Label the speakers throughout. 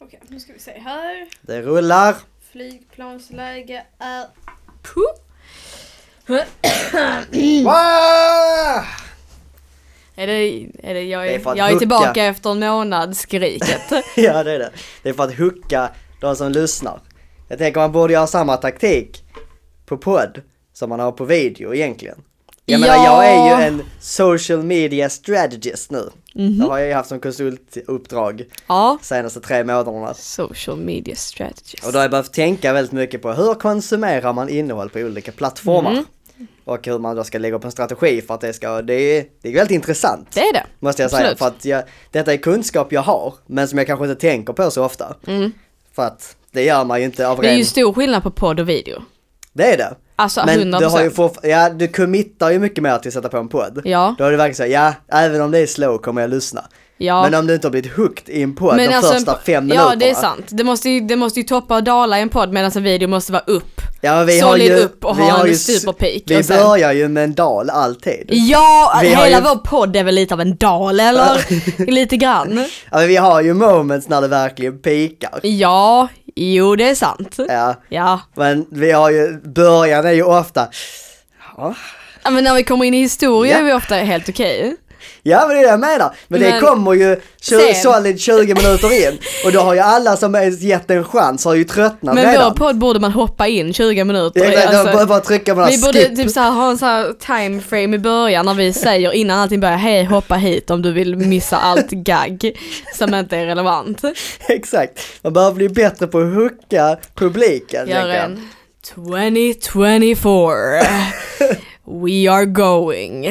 Speaker 1: Okej, nu ska vi se här.
Speaker 2: Det rullar.
Speaker 1: Flygplansläge är...
Speaker 2: Wow!
Speaker 3: Är det, är det, jag
Speaker 2: Det
Speaker 3: är,
Speaker 2: är för att
Speaker 3: jag är
Speaker 2: hucka.
Speaker 3: tillbaka efter en månad, skriket.
Speaker 2: ja, det är det. Det är för att hucka de som lyssnar. Jag tänker man borde göra samma taktik på podd som man har på video egentligen. Jag menar,
Speaker 3: Ja.
Speaker 2: jag är ju en social media strategist nu.
Speaker 3: Mhm.
Speaker 2: Det har jag ju haft som konsultuppdrag
Speaker 3: ja.
Speaker 2: senaste tre månaderna.
Speaker 3: Social media strategist.
Speaker 2: Och då har jag behövt tänka väldigt mycket på hur konsumerar man innehåll på olika plattformar.
Speaker 3: Mhm.
Speaker 2: Och hur man då ska lägga upp en strategi för att det ska, det är, det är väldigt intressant.
Speaker 3: Det är det.
Speaker 2: Måste jag säga,
Speaker 3: Absolut.
Speaker 2: för att jag, detta är kunskap jag har, men som jag kanske inte tänker på så ofta. För att det gör man ju inte av
Speaker 3: Mm. Det är
Speaker 2: ren...
Speaker 3: ju stor skillnad på podd och video.
Speaker 2: Det är det.
Speaker 3: Alltså
Speaker 2: Men
Speaker 3: 100%.
Speaker 2: du har ju fortfar- ja du committar ju mycket mer till att sätta på en podd.
Speaker 3: Ja.
Speaker 2: Då är det verkligen så, ja, även om det är slow kommer jag lyssna.
Speaker 3: Ja.
Speaker 2: Men om du inte har blivit hooked i en podd de
Speaker 3: alltså en
Speaker 2: första
Speaker 3: po-
Speaker 2: fem minuterna.
Speaker 3: Ja, det är sant. Det måste ju, det måste ju toppa och dala i en podd medan en video måste vara upp.
Speaker 2: Ja, men vi har
Speaker 3: Solid
Speaker 2: ju,
Speaker 3: upp och
Speaker 2: vi
Speaker 3: ha
Speaker 2: har
Speaker 3: en
Speaker 2: ju, s-
Speaker 3: superpeak
Speaker 2: Vi
Speaker 3: och sen-
Speaker 2: börjar ju med en dal alltid.
Speaker 3: Ja,
Speaker 2: Vi har
Speaker 3: hela
Speaker 2: ju-
Speaker 3: vår podd är väl lite av en dal eller? lite grann.
Speaker 2: Ja, men vi har ju moments när det verkligen peakar.
Speaker 3: Ja, jo det är sant.
Speaker 2: Ja,
Speaker 3: Ja,
Speaker 2: men vi har ju, början är ju ofta, ja,
Speaker 3: Ja, men när vi kommer in i historia
Speaker 2: Ja.
Speaker 3: är vi ofta helt okej.
Speaker 2: Ja men det är det jag menar. Men, det
Speaker 3: Men-
Speaker 2: kommer ju tju-
Speaker 3: Sen.
Speaker 2: solid 20 minuter in och då har ju alla som ens gett en chans har ju tröttnat
Speaker 3: Men vår
Speaker 2: redan.
Speaker 3: podd borde man hoppa in 20 minuter
Speaker 2: Det är
Speaker 3: i,
Speaker 2: klart,
Speaker 3: alltså.
Speaker 2: då bara, bara trycka på den
Speaker 3: Vi borde
Speaker 2: skip.
Speaker 3: typ så här, ha en så här time frame i början när vi säger innan allting börjar, hej hoppa hit om du vill missa allt gagg som inte är relevant.
Speaker 2: Exakt. Man behöver bli bättre på att hooka publiken.
Speaker 3: Gör
Speaker 2: tänker jag.
Speaker 3: en 2024. We are going.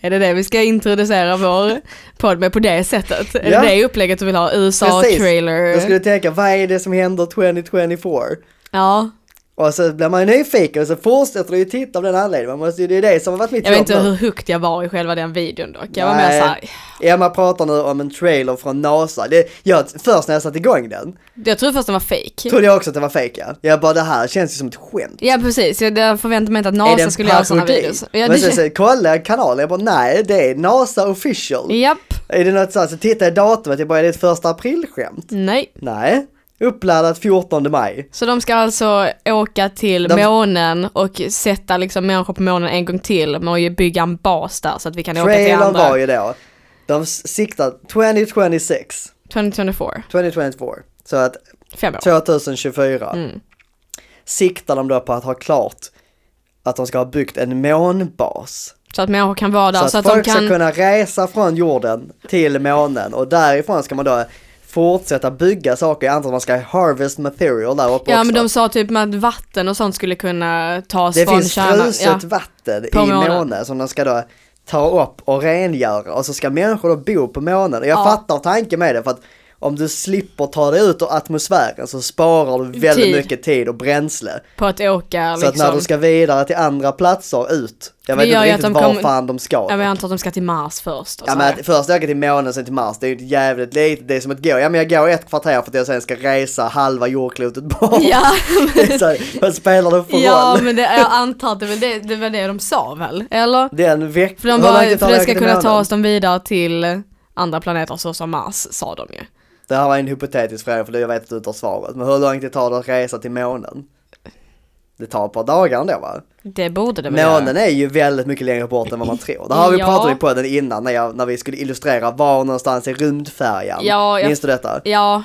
Speaker 3: Är det det vi ska introducera vår podd med på det sättet? Är
Speaker 2: Ja.
Speaker 3: det det upplägget du vill ha?
Speaker 2: Precis.
Speaker 3: USA-trailer?
Speaker 2: Då skulle du tänka, vad är det som händer 2024?
Speaker 3: Ja,
Speaker 2: Och så blir man ju nyfiken och så fortsätter du ju titta av den anledningen. Man måste ju, det är det som har varit mitt
Speaker 3: jag vet
Speaker 2: jobb
Speaker 3: inte
Speaker 2: nu.
Speaker 3: hur hooked jag var i själva den videon dock. Jag var mer
Speaker 2: Nej.
Speaker 3: såhär,
Speaker 2: Emma pratar nu om en trailer från NASA. Det, jag, först när jag satte igång den
Speaker 3: jag tror först den var fake.
Speaker 2: trodde jag också att det var fejk ja. Jag bara, det här känns ju som ett skämt.
Speaker 3: Ja precis, jag jag förväntade mig inte att
Speaker 2: är det
Speaker 3: NASA
Speaker 2: en
Speaker 3: skulle göra sådana
Speaker 2: parodi?
Speaker 3: videos. Ja,
Speaker 2: Men så,
Speaker 3: det,
Speaker 2: så, kollar jag kanalen, jag bara nej det är NASA official.
Speaker 3: japp,
Speaker 2: Är det något så, här, så tittar jag i datumet, jag bara är det ett första aprilskämt?
Speaker 3: nej.
Speaker 2: Nej, uppladdat 14 maj.
Speaker 3: Så de ska alltså åka till
Speaker 2: De-
Speaker 3: månen och sätta liksom människor på månen en gång till med att ju bygga en bas där så att vi kan åka till
Speaker 2: Trailern var
Speaker 3: andra.
Speaker 2: ju då, de s- siktar 2026,
Speaker 3: 2024,
Speaker 2: 2024, så att
Speaker 3: fem år.
Speaker 2: 2024
Speaker 3: Mm.
Speaker 2: siktar de då på att ha klart att de ska ha byggt en månbas.
Speaker 3: Så att människor kan vara där
Speaker 2: Så
Speaker 3: så,
Speaker 2: att,
Speaker 3: att de
Speaker 2: folk
Speaker 3: kan,
Speaker 2: ska kunna resa från jorden till månen och därifrån ska man då fortsätta bygga saker. Jag antar att man ska harvest material där uppe
Speaker 3: ja
Speaker 2: också.
Speaker 3: men de sa typ med att vatten och sånt skulle kunna tas
Speaker 2: det
Speaker 3: från
Speaker 2: finns
Speaker 3: kärnan.
Speaker 2: fruset
Speaker 3: Ja.
Speaker 2: vatten
Speaker 3: På
Speaker 2: i
Speaker 3: månen.
Speaker 2: månen som de ska då ta upp och rengöra och så ska människor då bo på månen. Och jag
Speaker 3: Ja.
Speaker 2: fattar tanken med det för att om du slipper ta dig ut ur atmosfären så sparar du väldigt
Speaker 3: Tid.
Speaker 2: mycket tid och bränsle.
Speaker 3: På att åka
Speaker 2: Så att när
Speaker 3: liksom.
Speaker 2: du ska vidare till andra platser ut, jag
Speaker 3: Det
Speaker 2: vet
Speaker 3: gör
Speaker 2: inte
Speaker 3: ju
Speaker 2: riktigt
Speaker 3: att de
Speaker 2: var
Speaker 3: kommer-
Speaker 2: fan de ska.
Speaker 3: Ja men jag antar att de ska till Mars först och
Speaker 2: Ja
Speaker 3: så
Speaker 2: men
Speaker 3: här.
Speaker 2: att först åka till månen sen till Mars, det är ju ett jävligt litet, det är som att gå, ja men jag går ett kvarter för att jag sen ska resa halva jordklotet bort.
Speaker 3: Ja,
Speaker 2: Det är så här, Vad spelar det för
Speaker 3: ja
Speaker 2: roll?
Speaker 3: men det, jag antar att det var det, det var det de sa väl? Eller?
Speaker 2: Den veckan,
Speaker 3: För, de
Speaker 2: hur
Speaker 3: bara,
Speaker 2: långt tar det
Speaker 3: för det
Speaker 2: att åka
Speaker 3: ska
Speaker 2: till
Speaker 3: kunna ta
Speaker 2: månen?
Speaker 3: oss dem vidare till andra planeter såsom Mars sa de ju.
Speaker 2: Det här var en hypotetisk fråga för jag vet att du inte har svaret, men hur långt det tar det att resa till månen? Det tar ett par dagar ändå va?
Speaker 3: Det borde det väl
Speaker 2: Månen
Speaker 3: göra.
Speaker 2: är ju väldigt mycket längre bort än vad man tror. Det här har vi
Speaker 3: Ja.
Speaker 2: pratat på den innan när, jag, när vi skulle illustrera var någonstans är rymdfärjan.
Speaker 3: Ja, jag-
Speaker 2: Minns du detta?
Speaker 3: Ja,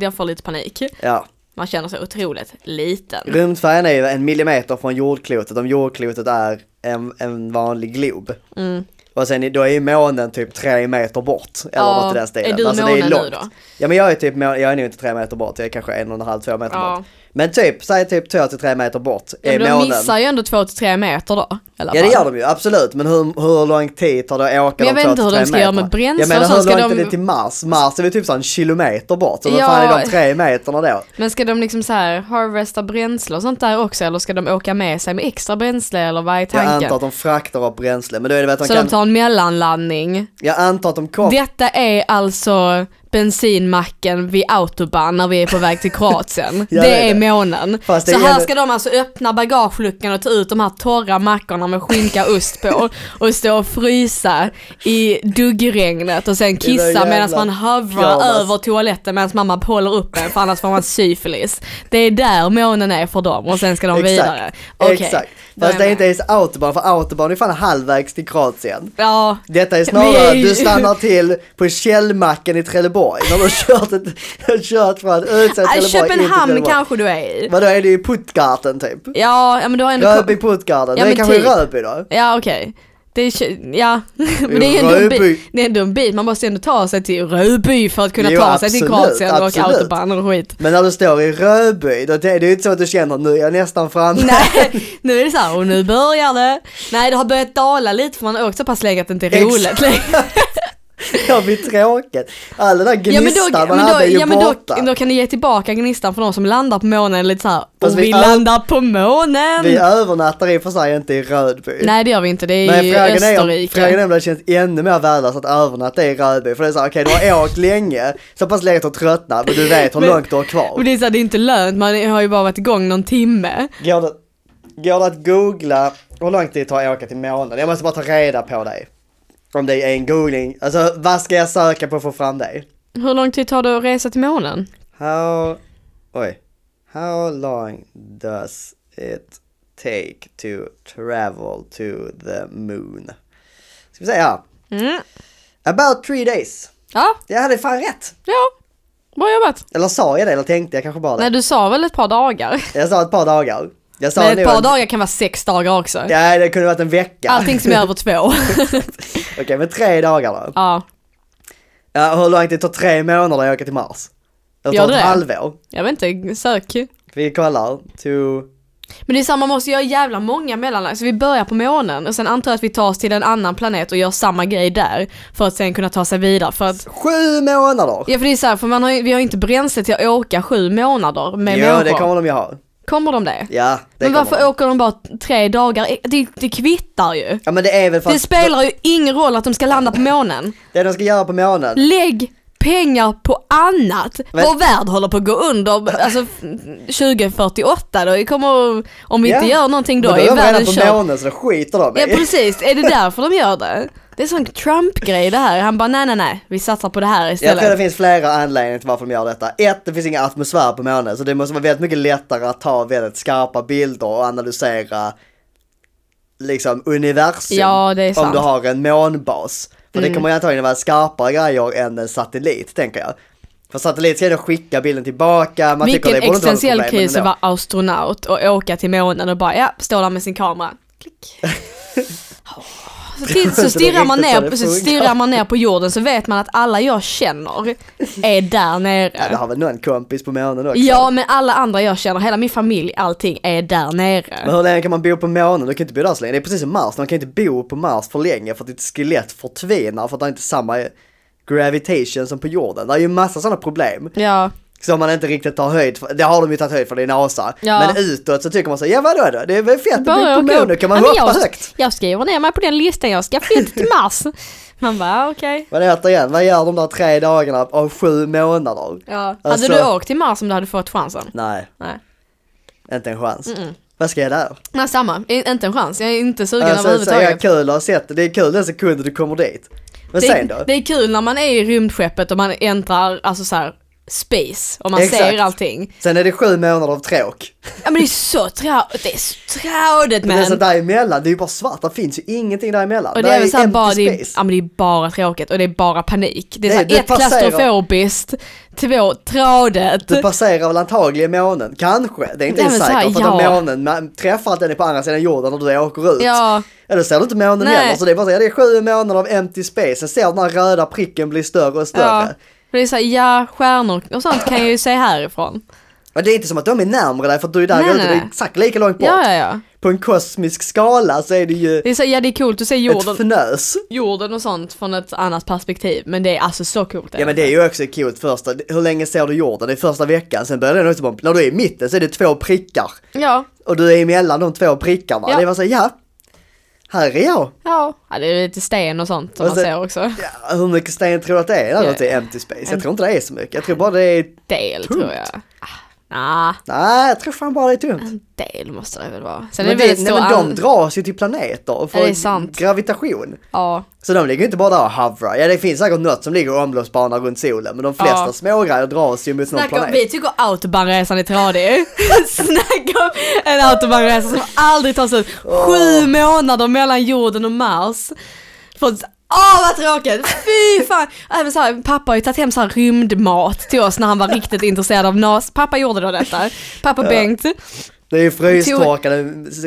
Speaker 3: jag får lite panik.
Speaker 2: Ja.
Speaker 3: Man känner sig otroligt liten.
Speaker 2: Rymdfärjan är ju en millimeter från jordklotet om jordklotet är en, en vanlig glob.
Speaker 3: Mm.
Speaker 2: Och sen är- då är ju månen typ tre meter bort. Eller
Speaker 3: Ja,
Speaker 2: något i den stilen. Alltså,
Speaker 3: är du
Speaker 2: det
Speaker 3: månen nu då?
Speaker 2: Ja men jag är typ, må- jag är nog inte tre meter bort, jag är kanske en och en halv, två meter
Speaker 3: Ja.
Speaker 2: bort. Men typ, säg typ två till tre meter bort
Speaker 3: Ja,
Speaker 2: är
Speaker 3: men de
Speaker 2: månen.
Speaker 3: missar ju ändå två till tre meter då. i alla
Speaker 2: Ja det
Speaker 3: fall.
Speaker 2: gör de ju, absolut. Men hur, hur lång tid tar det att åka
Speaker 3: Men
Speaker 2: de
Speaker 3: jag vet
Speaker 2: två
Speaker 3: inte hur
Speaker 2: till tre
Speaker 3: de ska göra
Speaker 2: meterna?
Speaker 3: med bränsle
Speaker 2: Jag menar
Speaker 3: och så.
Speaker 2: hur
Speaker 3: Ska
Speaker 2: långt
Speaker 3: de-
Speaker 2: är det till Mars? Mars är väl typ så här en kilometer bort. Så vad
Speaker 3: Ja.
Speaker 2: fan är de tre meterna då?
Speaker 3: Men ska de liksom så här harvesta bränsle och sånt där också eller ska de åka med sig med extra bränsle eller vad är
Speaker 2: Jag antar
Speaker 3: tanken?
Speaker 2: att de fraktar upp bränsle. Men då är det väl att de
Speaker 3: Så
Speaker 2: kan...
Speaker 3: de tar en mellanlandning.
Speaker 2: Jag antar att de kommer...
Speaker 3: Detta är alltså bensinmacken vid autobahn när vi är på väg till Kroatien.
Speaker 2: Ja, det
Speaker 3: det
Speaker 2: är
Speaker 3: är
Speaker 2: det.
Speaker 3: månen.
Speaker 2: Fast det
Speaker 3: så här
Speaker 2: gäller-
Speaker 3: ska de alltså öppna bagageluckan och ta ut de här torra mackorna med skinka och ost på och stå och frysa i duggregnet och sen
Speaker 2: I den
Speaker 3: kissa
Speaker 2: jävla
Speaker 3: medan man hovrar
Speaker 2: kramas.
Speaker 3: över toaletten medan mamma håller upp en för annars får man syfilis. Det är där månen är för dem och sen ska de
Speaker 2: Exakt.
Speaker 3: vidare. Okej.
Speaker 2: Exakt.
Speaker 3: då är
Speaker 2: Fast det är
Speaker 3: jag
Speaker 2: inte ens autobahn, för autobahn är fan halvvägs till Kroatien.
Speaker 3: Ja,
Speaker 2: Detta är
Speaker 3: Vi
Speaker 2: snarare
Speaker 3: är
Speaker 2: att
Speaker 3: ju-
Speaker 2: du stannar till på Källmacken i Trelleborg. De har kört, ett, kört från utsida
Speaker 3: Äh,
Speaker 2: Trelleborg in
Speaker 3: Köpenhamn
Speaker 2: till Trelleborg.
Speaker 3: kanske du är i.
Speaker 2: Vadå, är det i Puttgarden typ?
Speaker 3: Ja, ja men du har ändå...
Speaker 2: Rödby Puttgarden,
Speaker 3: Ja,
Speaker 2: det är
Speaker 3: men
Speaker 2: kanske
Speaker 3: typ.
Speaker 2: Rödby då?
Speaker 3: Ja okej. Det är, kö- ja, men det är ju ändå en
Speaker 2: Rödby.
Speaker 3: bit, det är ändå en bit, man måste ändå ta sig till Rödby för att kunna
Speaker 2: Jo,
Speaker 3: ta sig till
Speaker 2: absolut,
Speaker 3: Kroatien och
Speaker 2: absolut.
Speaker 3: autobahn och skit.
Speaker 2: Men när du står i Rödby, då det, det är ju inte så att du känner nu är jag nästan framme.
Speaker 3: Nej, nu är det så här, och nu börjar det. Nej det har börjat dala lite för man har åkt så pass länge att det inte är roligt
Speaker 2: Exakt.
Speaker 3: längre.
Speaker 2: Det blir tråkigt. All den där
Speaker 3: Ja men,
Speaker 2: gnistan
Speaker 3: då,
Speaker 2: man
Speaker 3: men, då,
Speaker 2: hade är ju
Speaker 3: ja, men då,
Speaker 2: borta.
Speaker 3: då kan ni ge tillbaka gnistan för de som landar på månen lite såhär,
Speaker 2: Fast
Speaker 3: och
Speaker 2: vi
Speaker 3: vi
Speaker 2: ö-
Speaker 3: landar på månen!
Speaker 2: Vi övernattar i och för sig inte i Rödby.
Speaker 3: Nej det gör vi inte, det är
Speaker 2: Men
Speaker 3: ju
Speaker 2: frågan är, om,
Speaker 3: Österrike.
Speaker 2: frågan är om det känns ännu mer värdelöst att övernatta i Rödby. För det är såhär, okej du har åkt länge, så pass länge att du har tröttnat, men du vet hur
Speaker 3: Men-
Speaker 2: långt du har kvar.
Speaker 3: Och det är, så här, det är inte lönt, man har ju bara varit igång någon timme.
Speaker 2: Går det, går det att googla hur lång tid det tar att åka till månen? Jag måste bara ta reda på dig. Om det är en googling, alltså vad ska jag söka på för att få fram dig?
Speaker 3: Hur lång tid tar det att resa till månen?
Speaker 2: How, oj. How long does it take to travel to the moon? Ska vi säga här.
Speaker 3: Mm.
Speaker 2: About three days.
Speaker 3: Ja,
Speaker 2: Jag hade fan rätt.
Speaker 3: ja. Bra jobbat.
Speaker 2: Eller sa jag det eller tänkte jag kanske bara det?
Speaker 3: Nej, du sa väl ett par dagar?
Speaker 2: Jag sa ett par dagar. Jag sa
Speaker 3: Men
Speaker 2: nog
Speaker 3: ett par
Speaker 2: en-
Speaker 3: dagar kan vara sex dagar också.
Speaker 2: Nej, det kunde varit en vecka.
Speaker 3: Allting som är över två.
Speaker 2: Okej, men tre dagar då.
Speaker 3: ja,
Speaker 2: Ja, hur långt det tar tre månader att åka till Mars? Eller
Speaker 3: Gör
Speaker 2: tar
Speaker 3: det
Speaker 2: ett
Speaker 3: det?
Speaker 2: halvår?
Speaker 3: jag vet inte, sök.
Speaker 2: Vi kollar. To...
Speaker 3: Men det är samma, man måste göra jävla många mellanlag. Så vi börjar på månen och sen antar jag att vi tar oss till en annan planet och gör samma grej där. För att sen kunna ta sig vidare. För att,
Speaker 2: Sju månader!
Speaker 3: ja för det är så här, för man har, ju- vi har ju inte bränsle till att åka sju månader med
Speaker 2: jo,
Speaker 3: människor.
Speaker 2: det kommer de ju ha.
Speaker 3: Kommer de det?
Speaker 2: Ja, det
Speaker 3: Men
Speaker 2: kommer
Speaker 3: varför
Speaker 2: de.
Speaker 3: åker de bara tre dagar? Det, det kvittar ju.
Speaker 2: Ja men det är väl för
Speaker 3: Det
Speaker 2: att
Speaker 3: spelar ju ingen roll att de ska landa på månen.
Speaker 2: det de ska göra på månen,
Speaker 3: Lägg pengar på annat.
Speaker 2: Men-
Speaker 3: Vår värld håller på att gå under alltså, f- 2048 då. Vi kommer, om vi inte
Speaker 2: Ja.
Speaker 3: gör någonting då,
Speaker 2: men då
Speaker 3: är
Speaker 2: de redan
Speaker 3: världen
Speaker 2: på
Speaker 3: körd.
Speaker 2: månen så det skiter de i.
Speaker 3: Ja precis, är det därför de gör det? Det är sån Trump-grej det här. Han bara nej nej nej, vi satsar på det här
Speaker 2: Jag tror det
Speaker 3: istället.
Speaker 2: finns flera anledningar till varför de gör detta. Ett, det finns ingen atmosfär på månen så det måste vara väldigt mycket lättare att ta väldigt skarpa bilder och analysera liksom universum.
Speaker 3: Ja, det är
Speaker 2: Om
Speaker 3: sant. Mm.
Speaker 2: du har en månbas. För det kommer ju antagligen vara skarpare grejer än en satellit tänker jag. För satellit ska ju då skicka bilden tillbaka, man
Speaker 3: Vilken
Speaker 2: tycker det borde inte vara något
Speaker 3: existentiell
Speaker 2: problem, men
Speaker 3: kris att
Speaker 2: ändå.
Speaker 3: vara astronaut och åka till månen och bara ja, stå där med sin kamera. Klick. Så, till, så, stirrar man
Speaker 2: riktigt
Speaker 3: ner,
Speaker 2: så
Speaker 3: så
Speaker 2: det
Speaker 3: stirrar man ner på jorden så vet man att alla jag känner är där
Speaker 2: Ja, det
Speaker 3: nere.
Speaker 2: har väl någon kompis på månen också?
Speaker 3: Ja men alla andra jag känner, hela min familj, allting är där
Speaker 2: Men
Speaker 3: nere.
Speaker 2: hur länge kan man bo på månen? Du kan inte bo där så länge. Det är precis som Mars, man kan inte bo på Mars för länge för att ditt skelett förtvinar för att det är inte samma gravitation som på jorden. Det är ju massa sådana problem
Speaker 3: Ja,
Speaker 2: som man inte riktigt tar höjd för. Det har de ju tagit höjd för, det är NASA.
Speaker 3: Ja.
Speaker 2: Men utåt så tycker man så, ja vadå då? Det är väl fett att bo
Speaker 3: bara
Speaker 2: på
Speaker 3: åka
Speaker 2: månen,
Speaker 3: upp.
Speaker 2: kan man
Speaker 3: Ja, men
Speaker 2: hoppa
Speaker 3: jag,
Speaker 2: högt?
Speaker 3: Jag skriver ner mig på den listan, jag ska flytta till Mars. Man bara ah, okej.
Speaker 2: Men återigen, vad gör de där tre dagarna av sju månader?
Speaker 3: Ja.
Speaker 2: Alltså-
Speaker 3: Hade du åkt till Mars om du hade fått chansen?
Speaker 2: Nej,
Speaker 3: Nej.
Speaker 2: inte en chans. Vad ska jag där?
Speaker 3: Nej samma, I- inte en chans. Jag är inte sugen
Speaker 2: Alltså, så är
Speaker 3: överhuvudtaget.
Speaker 2: kul att ha sett det. Det är kul den sekunden du kommer dit. Men sen då?
Speaker 3: det, det är kul när man är i rymdskeppet och man äntrar, alltså så här space och man
Speaker 2: Exakt.
Speaker 3: ser allting.
Speaker 2: Sen är det sju månader av tråk.
Speaker 3: Ja men det är så tradigt, det är så tradigt
Speaker 2: Men,
Speaker 3: man.
Speaker 2: så däremellan, det är ju bara svart, det finns ju ingenting däremellan.
Speaker 3: Och det är väl såhär
Speaker 2: empty
Speaker 3: bara, det är,
Speaker 2: space.
Speaker 3: ja, men det är bara tråkigt och det är bara panik. Det är
Speaker 2: Nej,
Speaker 3: såhär
Speaker 2: det
Speaker 3: ett
Speaker 2: passerar.
Speaker 3: klaustrofobiskt, två tradigt.
Speaker 2: Du passerar väl antagligen månen, kanske. Det är inte
Speaker 3: Nej,
Speaker 2: ens
Speaker 3: men så
Speaker 2: säkert
Speaker 3: här,
Speaker 2: för att
Speaker 3: ja.
Speaker 2: månen man träffar att den är på andra sidan jorden och du åker ut.
Speaker 3: Ja,
Speaker 2: Eller ser du inte månen
Speaker 3: Nej.
Speaker 2: heller. Så det är bara så här, det är sju månader av empty space. Sen ser du den här röda pricken bli större och
Speaker 3: ja.
Speaker 2: större.
Speaker 3: För det är såhär, ja stjärnor och sånt kan jag ju se härifrån.
Speaker 2: Men det är inte som att de är närmare dig för att du är där
Speaker 3: Nej,
Speaker 2: ute, det
Speaker 3: nej.
Speaker 2: är exakt lika långt bort.
Speaker 3: Ja, ja, ja.
Speaker 2: På en kosmisk skala så är det ju
Speaker 3: Det är så, ja det är coolt att se
Speaker 2: ett
Speaker 3: jorden,
Speaker 2: fnös.
Speaker 3: jorden och sånt från ett annat perspektiv. Men det är alltså så coolt.
Speaker 2: Ja men det är ju också coolt första, hur länge ser du jorden? Det är första veckan, sen börjar den också bara, när du är i mitten så är det två prickar.
Speaker 3: Ja,
Speaker 2: och du är emellan de två prickarna.
Speaker 3: Ja.
Speaker 2: Det var så, ja. här är jag!
Speaker 3: Ja. ja, det är lite sten och sånt som
Speaker 2: Och
Speaker 3: man
Speaker 2: så-
Speaker 3: ser också.
Speaker 2: Ja, hur mycket sten tror du att det är där
Speaker 3: Ja.
Speaker 2: ute i empty space? Jag tror inte det är så mycket. Jag tror bara det är...
Speaker 3: Del tror jag. Ah, Nej,
Speaker 2: Nej, jag tror fan bara det är tunt.
Speaker 3: en del måste det väl vara. Sen
Speaker 2: Men,
Speaker 3: är det
Speaker 2: det,
Speaker 3: väldigt
Speaker 2: nej,
Speaker 3: stor
Speaker 2: men de
Speaker 3: an-
Speaker 2: dras ju till planeter och
Speaker 3: Ja, det är
Speaker 2: får
Speaker 3: sant.
Speaker 2: gravitation.
Speaker 3: Ja,
Speaker 2: Så de ligger ju inte bara där och havrar. Ja, det finns säkert något som ligger i omloppsbana runt solen, men de flesta
Speaker 3: Ja.
Speaker 2: smågrejer dras ju mot någon
Speaker 3: Snacka om,
Speaker 2: planet.
Speaker 3: vi tycker autobahnresan är tradig. Snacka om en autobahnresa som aldrig tar slut. Sju månader mellan jorden och Mars. För Åh vad tråkigt! Fy fan! Även så här, pappa har ju tagit hem så här rymdmat till oss när han var riktigt intresserad av NASA. Pappa gjorde då detta. Pappa Bengt.
Speaker 2: Det är ju frystorkade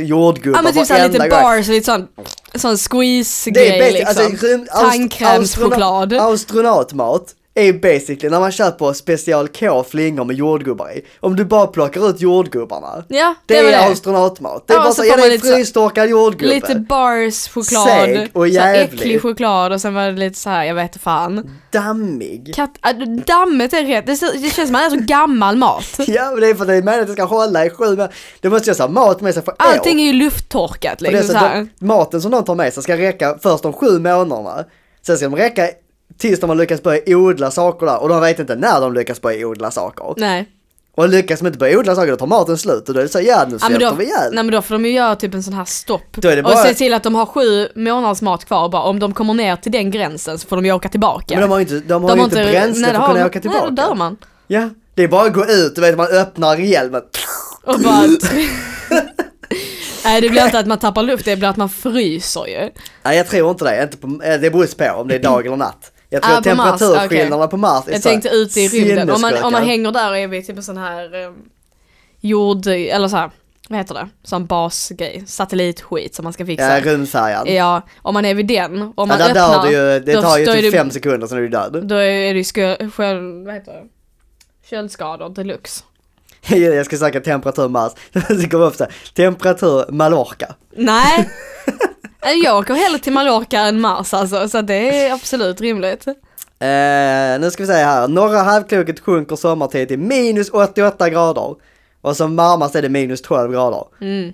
Speaker 2: jordgubbar
Speaker 3: Ja men typ såhär
Speaker 2: varenda
Speaker 3: lite
Speaker 2: gång.
Speaker 3: bars och lite sån, sån
Speaker 2: Det är
Speaker 3: squeeze-grej
Speaker 2: basic,
Speaker 3: liksom.
Speaker 2: alltså, rymd, aust-
Speaker 3: Tandkrämschoklad.
Speaker 2: astronaut- Astronautmat är basically när man köper special K flingor med jordgubbar i. Om du bara plockar ut jordgubbarna.
Speaker 3: Ja, det,
Speaker 2: Det,
Speaker 3: var
Speaker 2: är
Speaker 3: det.
Speaker 2: astronautmat. Det är
Speaker 3: Ja,
Speaker 2: bara
Speaker 3: och så
Speaker 2: så, ja
Speaker 3: får
Speaker 2: det
Speaker 3: man
Speaker 2: är
Speaker 3: lite så-
Speaker 2: frystorkad jordgubbe.
Speaker 3: Lite bars choklad,
Speaker 2: Seg och
Speaker 3: så här
Speaker 2: jävlig.
Speaker 3: äcklig choklad och sen var det lite så här, jag vet inte fan.
Speaker 2: Dammig.
Speaker 3: Katt, äh, dammet är rätt, det, ser- det känns som att man äter gammal mat.
Speaker 2: Ja, men det är för att det är meningen att det ska hålla i sju månader. Det måste jag säga mat med sig för
Speaker 3: Allting
Speaker 2: år.
Speaker 3: är ju lufttorkat
Speaker 2: För det är
Speaker 3: liksom
Speaker 2: så
Speaker 3: så
Speaker 2: att
Speaker 3: här.
Speaker 2: de, maten som de tar med sig ska räcka först de sju månaderna. Sen ska de räcka tills de har lyckats börja odla saker där och de vet inte när de lyckas börja odla saker.
Speaker 3: Nej.
Speaker 2: Och lyckas de inte börja odla saker då tar maten slut och då är det så ja nu
Speaker 3: Ja,
Speaker 2: svälter
Speaker 3: men då,
Speaker 2: vi ihjäl.
Speaker 3: nej men då får de ju göra typ en sån här stopp.
Speaker 2: Då är det
Speaker 3: Och
Speaker 2: bara-
Speaker 3: se till att de har sju månaders mat kvar och bara. Om de kommer ner till den gränsen så får de ju åka tillbaka.
Speaker 2: Men de har ju inte, de har ju inte bränsle
Speaker 3: nej,
Speaker 2: för
Speaker 3: det
Speaker 2: att
Speaker 3: har
Speaker 2: kunna
Speaker 3: de-
Speaker 2: åka tillbaka.
Speaker 3: Nej, då dör man.
Speaker 2: Ja, det är bara att gå ut, du vet man öppnar hjälmen.
Speaker 3: Och bara... nej det blir inte att man tappar luft, det blir att man fryser ju.
Speaker 2: Nej jag tror inte det, inte på, eh, det beror på om det är dag eller natt. Jag tror
Speaker 3: Ah,
Speaker 2: att
Speaker 3: på Mars,
Speaker 2: temperaturskillnaderna på Mars är
Speaker 3: Jag
Speaker 2: så här
Speaker 3: tänkte ute i rymden, om man, om man
Speaker 2: sinnessjuka.
Speaker 3: hänger där och är vid typ en sån här eh, jord, eller så här, vad heter det? Sån basgrej, satellitskit som man ska fixa.
Speaker 2: Ja,
Speaker 3: liksom. Ja,
Speaker 2: rymdfärjan. Ja,
Speaker 3: om man är vid den, om man
Speaker 2: där dör
Speaker 3: öppnar,
Speaker 2: du ju, det
Speaker 3: då
Speaker 2: tar ju
Speaker 3: står
Speaker 2: typ
Speaker 3: det-
Speaker 2: fem sekunder sen är du död.
Speaker 3: då är det ju skö- själv, vad heter det? Köldskador deluxe.
Speaker 2: jag ska söka temperatur Mars, det kommer upp så här, temperatur Mallorca.
Speaker 3: Nej! Nej, Jag åker hellre till Mallorca än Mars alltså, så det är absolut rimligt.
Speaker 2: Eh, nu ska vi se här, norra halvklotet sjunker sommartid till minus 88 grader. Och som varmast är det minus 12 grader.
Speaker 3: Mm.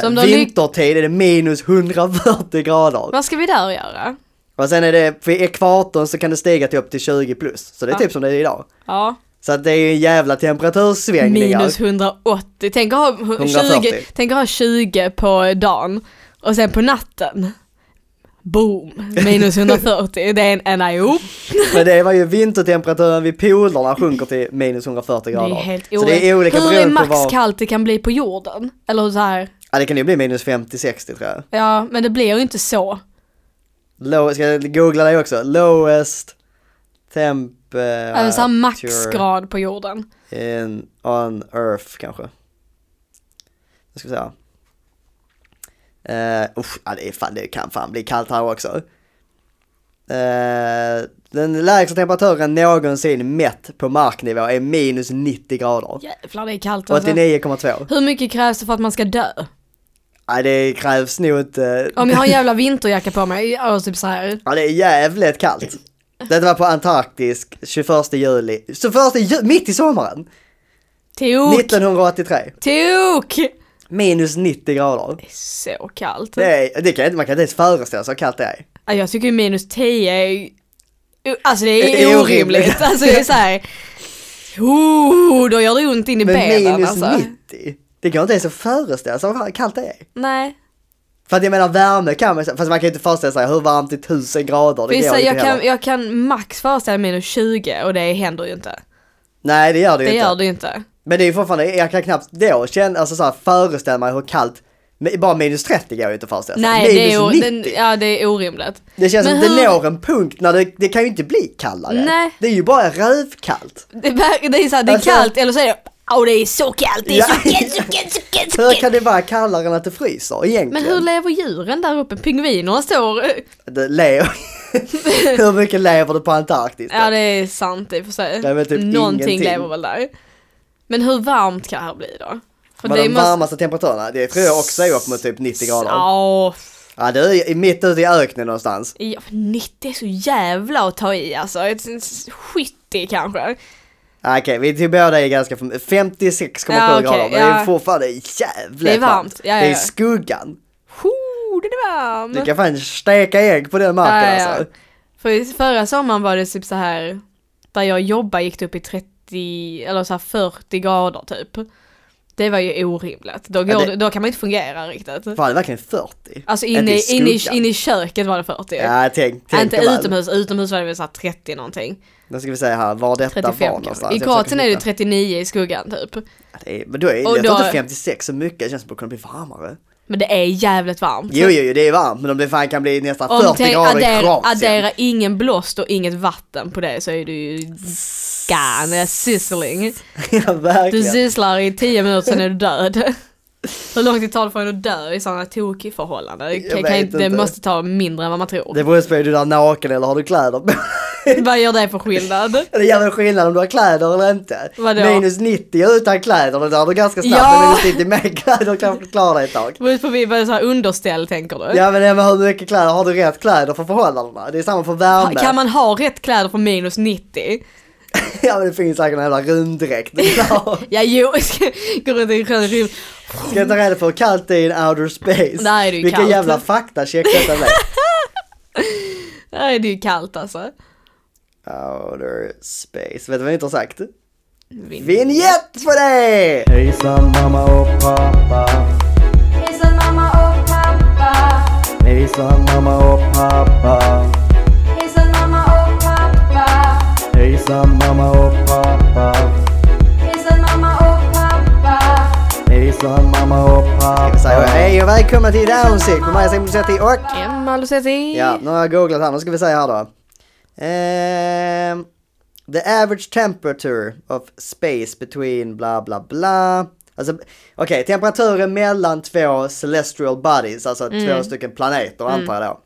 Speaker 3: Så om
Speaker 2: Eh,
Speaker 3: de ly-
Speaker 2: vintertid är det minus 140 grader.
Speaker 3: Vad ska vi där göra?
Speaker 2: Och sen är det, vid ekvatorn så kan det stiga till upp till 20 plus. Så det är
Speaker 3: Ja.
Speaker 2: typ som det är idag.
Speaker 3: Ja,
Speaker 2: Så att det är ju en jävla alltså. temperatursvängningar.
Speaker 3: Minus 180, tänk att ha hu-
Speaker 2: 140.
Speaker 3: 20, tänk att ha 20 på dagen och sen på natten, boom, minus 140, det är en NIO.
Speaker 2: Men det var ju vintertemperaturen vid polerna sjunker till minus 140
Speaker 3: Det är
Speaker 2: grader.
Speaker 3: helt
Speaker 2: så det är olika
Speaker 3: orimligt. Hur är
Speaker 2: beroende på
Speaker 3: max
Speaker 2: var...
Speaker 3: kallt det kan bli på jorden? Eller så här,
Speaker 2: Ja det kan ju bli minus 50-60 tror jag.
Speaker 3: ja men det blir ju inte så.
Speaker 2: Low, ska jag googla det också? Lowest temperature
Speaker 3: Även Alltså, så här maxgrad på jorden.
Speaker 2: in, on earth kanske. Nu ska vi se här. Eh, usch, ja, det, är fan, det kan fan bli kallt här också. Eh, den lägsta temperaturen någonsin mätt på marknivå är minus 90 grader.
Speaker 3: Jävlar det är kallt alltså.
Speaker 2: 89,2.
Speaker 3: Hur mycket krävs det för att man ska dö?
Speaker 2: Nej det krävs nog inte.
Speaker 3: Om jag har en jävla vinterjacka på mig, och typ så här.
Speaker 2: Ja det är jävligt kallt. Det var på Antarktis 21 juli, 21 juli, mitt i sommaren!
Speaker 3: Tok!
Speaker 2: 1983.
Speaker 3: Tok!
Speaker 2: Minus 90 grader.
Speaker 3: Det är så kallt.
Speaker 2: Det, är, det kan jag inte, man kan inte ens föreställa sig hur kallt det är.
Speaker 3: Ja, Jag tycker ju minus 10 är... Alltså det
Speaker 2: Det
Speaker 3: är
Speaker 2: är
Speaker 3: orimligt.
Speaker 2: orimligt.
Speaker 3: Alltså det är såhär... Oh, då gör det ont in i
Speaker 2: Men
Speaker 3: benen
Speaker 2: minus
Speaker 3: alltså.
Speaker 2: 90? Det går inte ens att föreställa sig hur kallt det är.
Speaker 3: Nej.
Speaker 2: För att jag menar värme kan man, fast man kan ju inte föreställa sig hur varmt det är 1000 grader, det
Speaker 3: För
Speaker 2: går
Speaker 3: det är så här,
Speaker 2: inte
Speaker 3: jag,
Speaker 2: heller.
Speaker 3: kan, jag kan max föreställa mig minus 20 och det händer ju inte.
Speaker 2: Nej det gör det
Speaker 3: Det
Speaker 2: ju inte. Alltså,
Speaker 3: gör det ju inte.
Speaker 2: Men det är ju fortfarande, jag kan knappt då känna, alltså såhär föreställa mig hur kallt, men bara minus 30 går ju inte att föreställa sig.
Speaker 3: Nej, det är, o-
Speaker 2: minus 90!
Speaker 3: den, ja, det är orimligt.
Speaker 2: Det känns
Speaker 3: Men
Speaker 2: som att det
Speaker 3: hur-
Speaker 2: når en punkt när det, det kan ju inte bli kallare.
Speaker 3: Nej.
Speaker 2: Det är ju bara rövkallt.
Speaker 3: Det, är- det är så här, det är
Speaker 2: Alltså-
Speaker 3: kallt eller så är det... Åh, det är så kallt, det är så
Speaker 2: Ja.
Speaker 3: kallt, så kallt, så kallt, så
Speaker 2: Hur
Speaker 3: kallt.
Speaker 2: kan det vara kallare än att det fryser egentligen?
Speaker 3: Men hur lever djuren där uppe? Pingvinerna står...
Speaker 2: det lever. hur mycket lever du på Antarktis? då?
Speaker 3: Ja det är sant i och för sig.
Speaker 2: Det är väl typ
Speaker 3: Någonting
Speaker 2: ingenting.
Speaker 3: lever väl där. Men hur varmt kan det här bli då? För
Speaker 2: Men de varmaste temperaturerna, det tror jag också är upp mot typ 90 grader. Ja,
Speaker 3: Ja,
Speaker 2: det är ju mitt ute i öknen någonstans.
Speaker 3: ja, 90 är så jävla att ta i alltså. Ett- ett 70 kanske.
Speaker 2: Ah, Okej, vi till båda är ganska för 56,7
Speaker 3: Ja, okej,
Speaker 2: grader, men det är
Speaker 3: ja.
Speaker 2: ju fortfarande jävligt
Speaker 3: Det är varmt, ja, ja,
Speaker 2: Det är
Speaker 3: ja.
Speaker 2: skuggan.
Speaker 3: Huh. fram!
Speaker 2: Du kan fan steka ägg på den marken
Speaker 3: Ja, ja, ja.
Speaker 2: alltså.
Speaker 3: För i- förra sommaren var det typ så här där jag jobbade gick det upp i 30, eller så här 40 grader typ. Det var ju orimligt. Då, går,
Speaker 2: Ja, det-
Speaker 3: det... då kan man inte fungera riktigt.
Speaker 2: Fan, det är verkligen 40.
Speaker 3: Alltså
Speaker 2: Inte
Speaker 3: inne
Speaker 2: i
Speaker 3: i, inne, i,
Speaker 2: skuggan.
Speaker 3: inne i köket var det 40.
Speaker 2: Ja, tänk, tänk
Speaker 3: inte
Speaker 2: dig väl.
Speaker 3: utomhus, utomhus var det väl så här 30 någonting.
Speaker 2: Då ska vi säga här, var detta
Speaker 3: 35
Speaker 2: var någonstans.
Speaker 3: kanske. I
Speaker 2: Jag försöker
Speaker 3: Kroatien är det
Speaker 2: hitta.
Speaker 3: 39 i skuggan typ.
Speaker 2: Ja, det är, men då är
Speaker 3: Och
Speaker 2: jag tror
Speaker 3: då-
Speaker 2: inte 56 så mycket, det känns som att det kunde bli varmare.
Speaker 3: Men det är jävligt varmt.
Speaker 2: Jo, jo, jo, det är varmt, men om det fan kan bli nästan 40
Speaker 3: tänk-
Speaker 2: grader i
Speaker 3: addera,
Speaker 2: Kroatien.
Speaker 3: addera ingen blåst och inget vatten på det så är du ju gone, sizzling.
Speaker 2: ja,
Speaker 3: Du
Speaker 2: verkligen.
Speaker 3: sysslar i tio minuter, sen är du död. Hur lång tid tar det från att dö i sådana tokförhållanden? Det,
Speaker 2: Jag
Speaker 3: kan, kan,
Speaker 2: vet
Speaker 3: inte- det
Speaker 2: inte.
Speaker 3: måste ta mindre än vad man tror.
Speaker 2: Det beror på om du är naken eller har du kläder på.
Speaker 3: Vad gör det för skillnad?
Speaker 2: Det är jävla skillnad om du har kläder eller inte.
Speaker 3: Vadå?
Speaker 2: Minus 90 utan kläder, då dör du ganska snabbt.
Speaker 3: Ja.
Speaker 2: Men minus 90 med kläder kan du klara dig ett tag.
Speaker 3: Det beror på vi- vad är så här underställ tänker du?
Speaker 2: Ja men, ja, men hur mycket kläder, har du rätt kläder för förhållandena? Det är samma för värme.
Speaker 3: Kan man ha rätt kläder på minus 90?
Speaker 2: Ja men det finns säkert en jävla rymddräkt. Det är klart.
Speaker 3: Ja jo, går runt i en skön rymd.
Speaker 2: Ska jag ta reda på hur kallt det är i outer space?
Speaker 3: Där är det ju
Speaker 2: Vilken
Speaker 3: kallt.
Speaker 2: jävla faktacheck detta blev.
Speaker 3: Där är det ju kallt alltså.
Speaker 2: Outer space. Vet du vad jag inte har sagt?
Speaker 3: Vind.
Speaker 2: Vinjett på dig! Hejsan mamma och pappa.
Speaker 4: Hejsan mamma och pappa.
Speaker 2: Hejsan mamma och pappa.
Speaker 4: Hejsan mamma och pappa.
Speaker 2: Hejsan mamma och pappa.
Speaker 4: Hejsan mamma och pappa.
Speaker 2: Hejsan mamma och pappa. Ska vi säga hej och välkomna till Downsick med mig Simon Lucetti och...
Speaker 3: Emma Lucetti.
Speaker 2: Ja, nu har jag googlat här. Nu ska vi säga här då. Ehm, the average temperature of space between bla bla bla. Alltså, okej, temperaturen mellan två celestial bodies, alltså två stycken planeter antar jag då.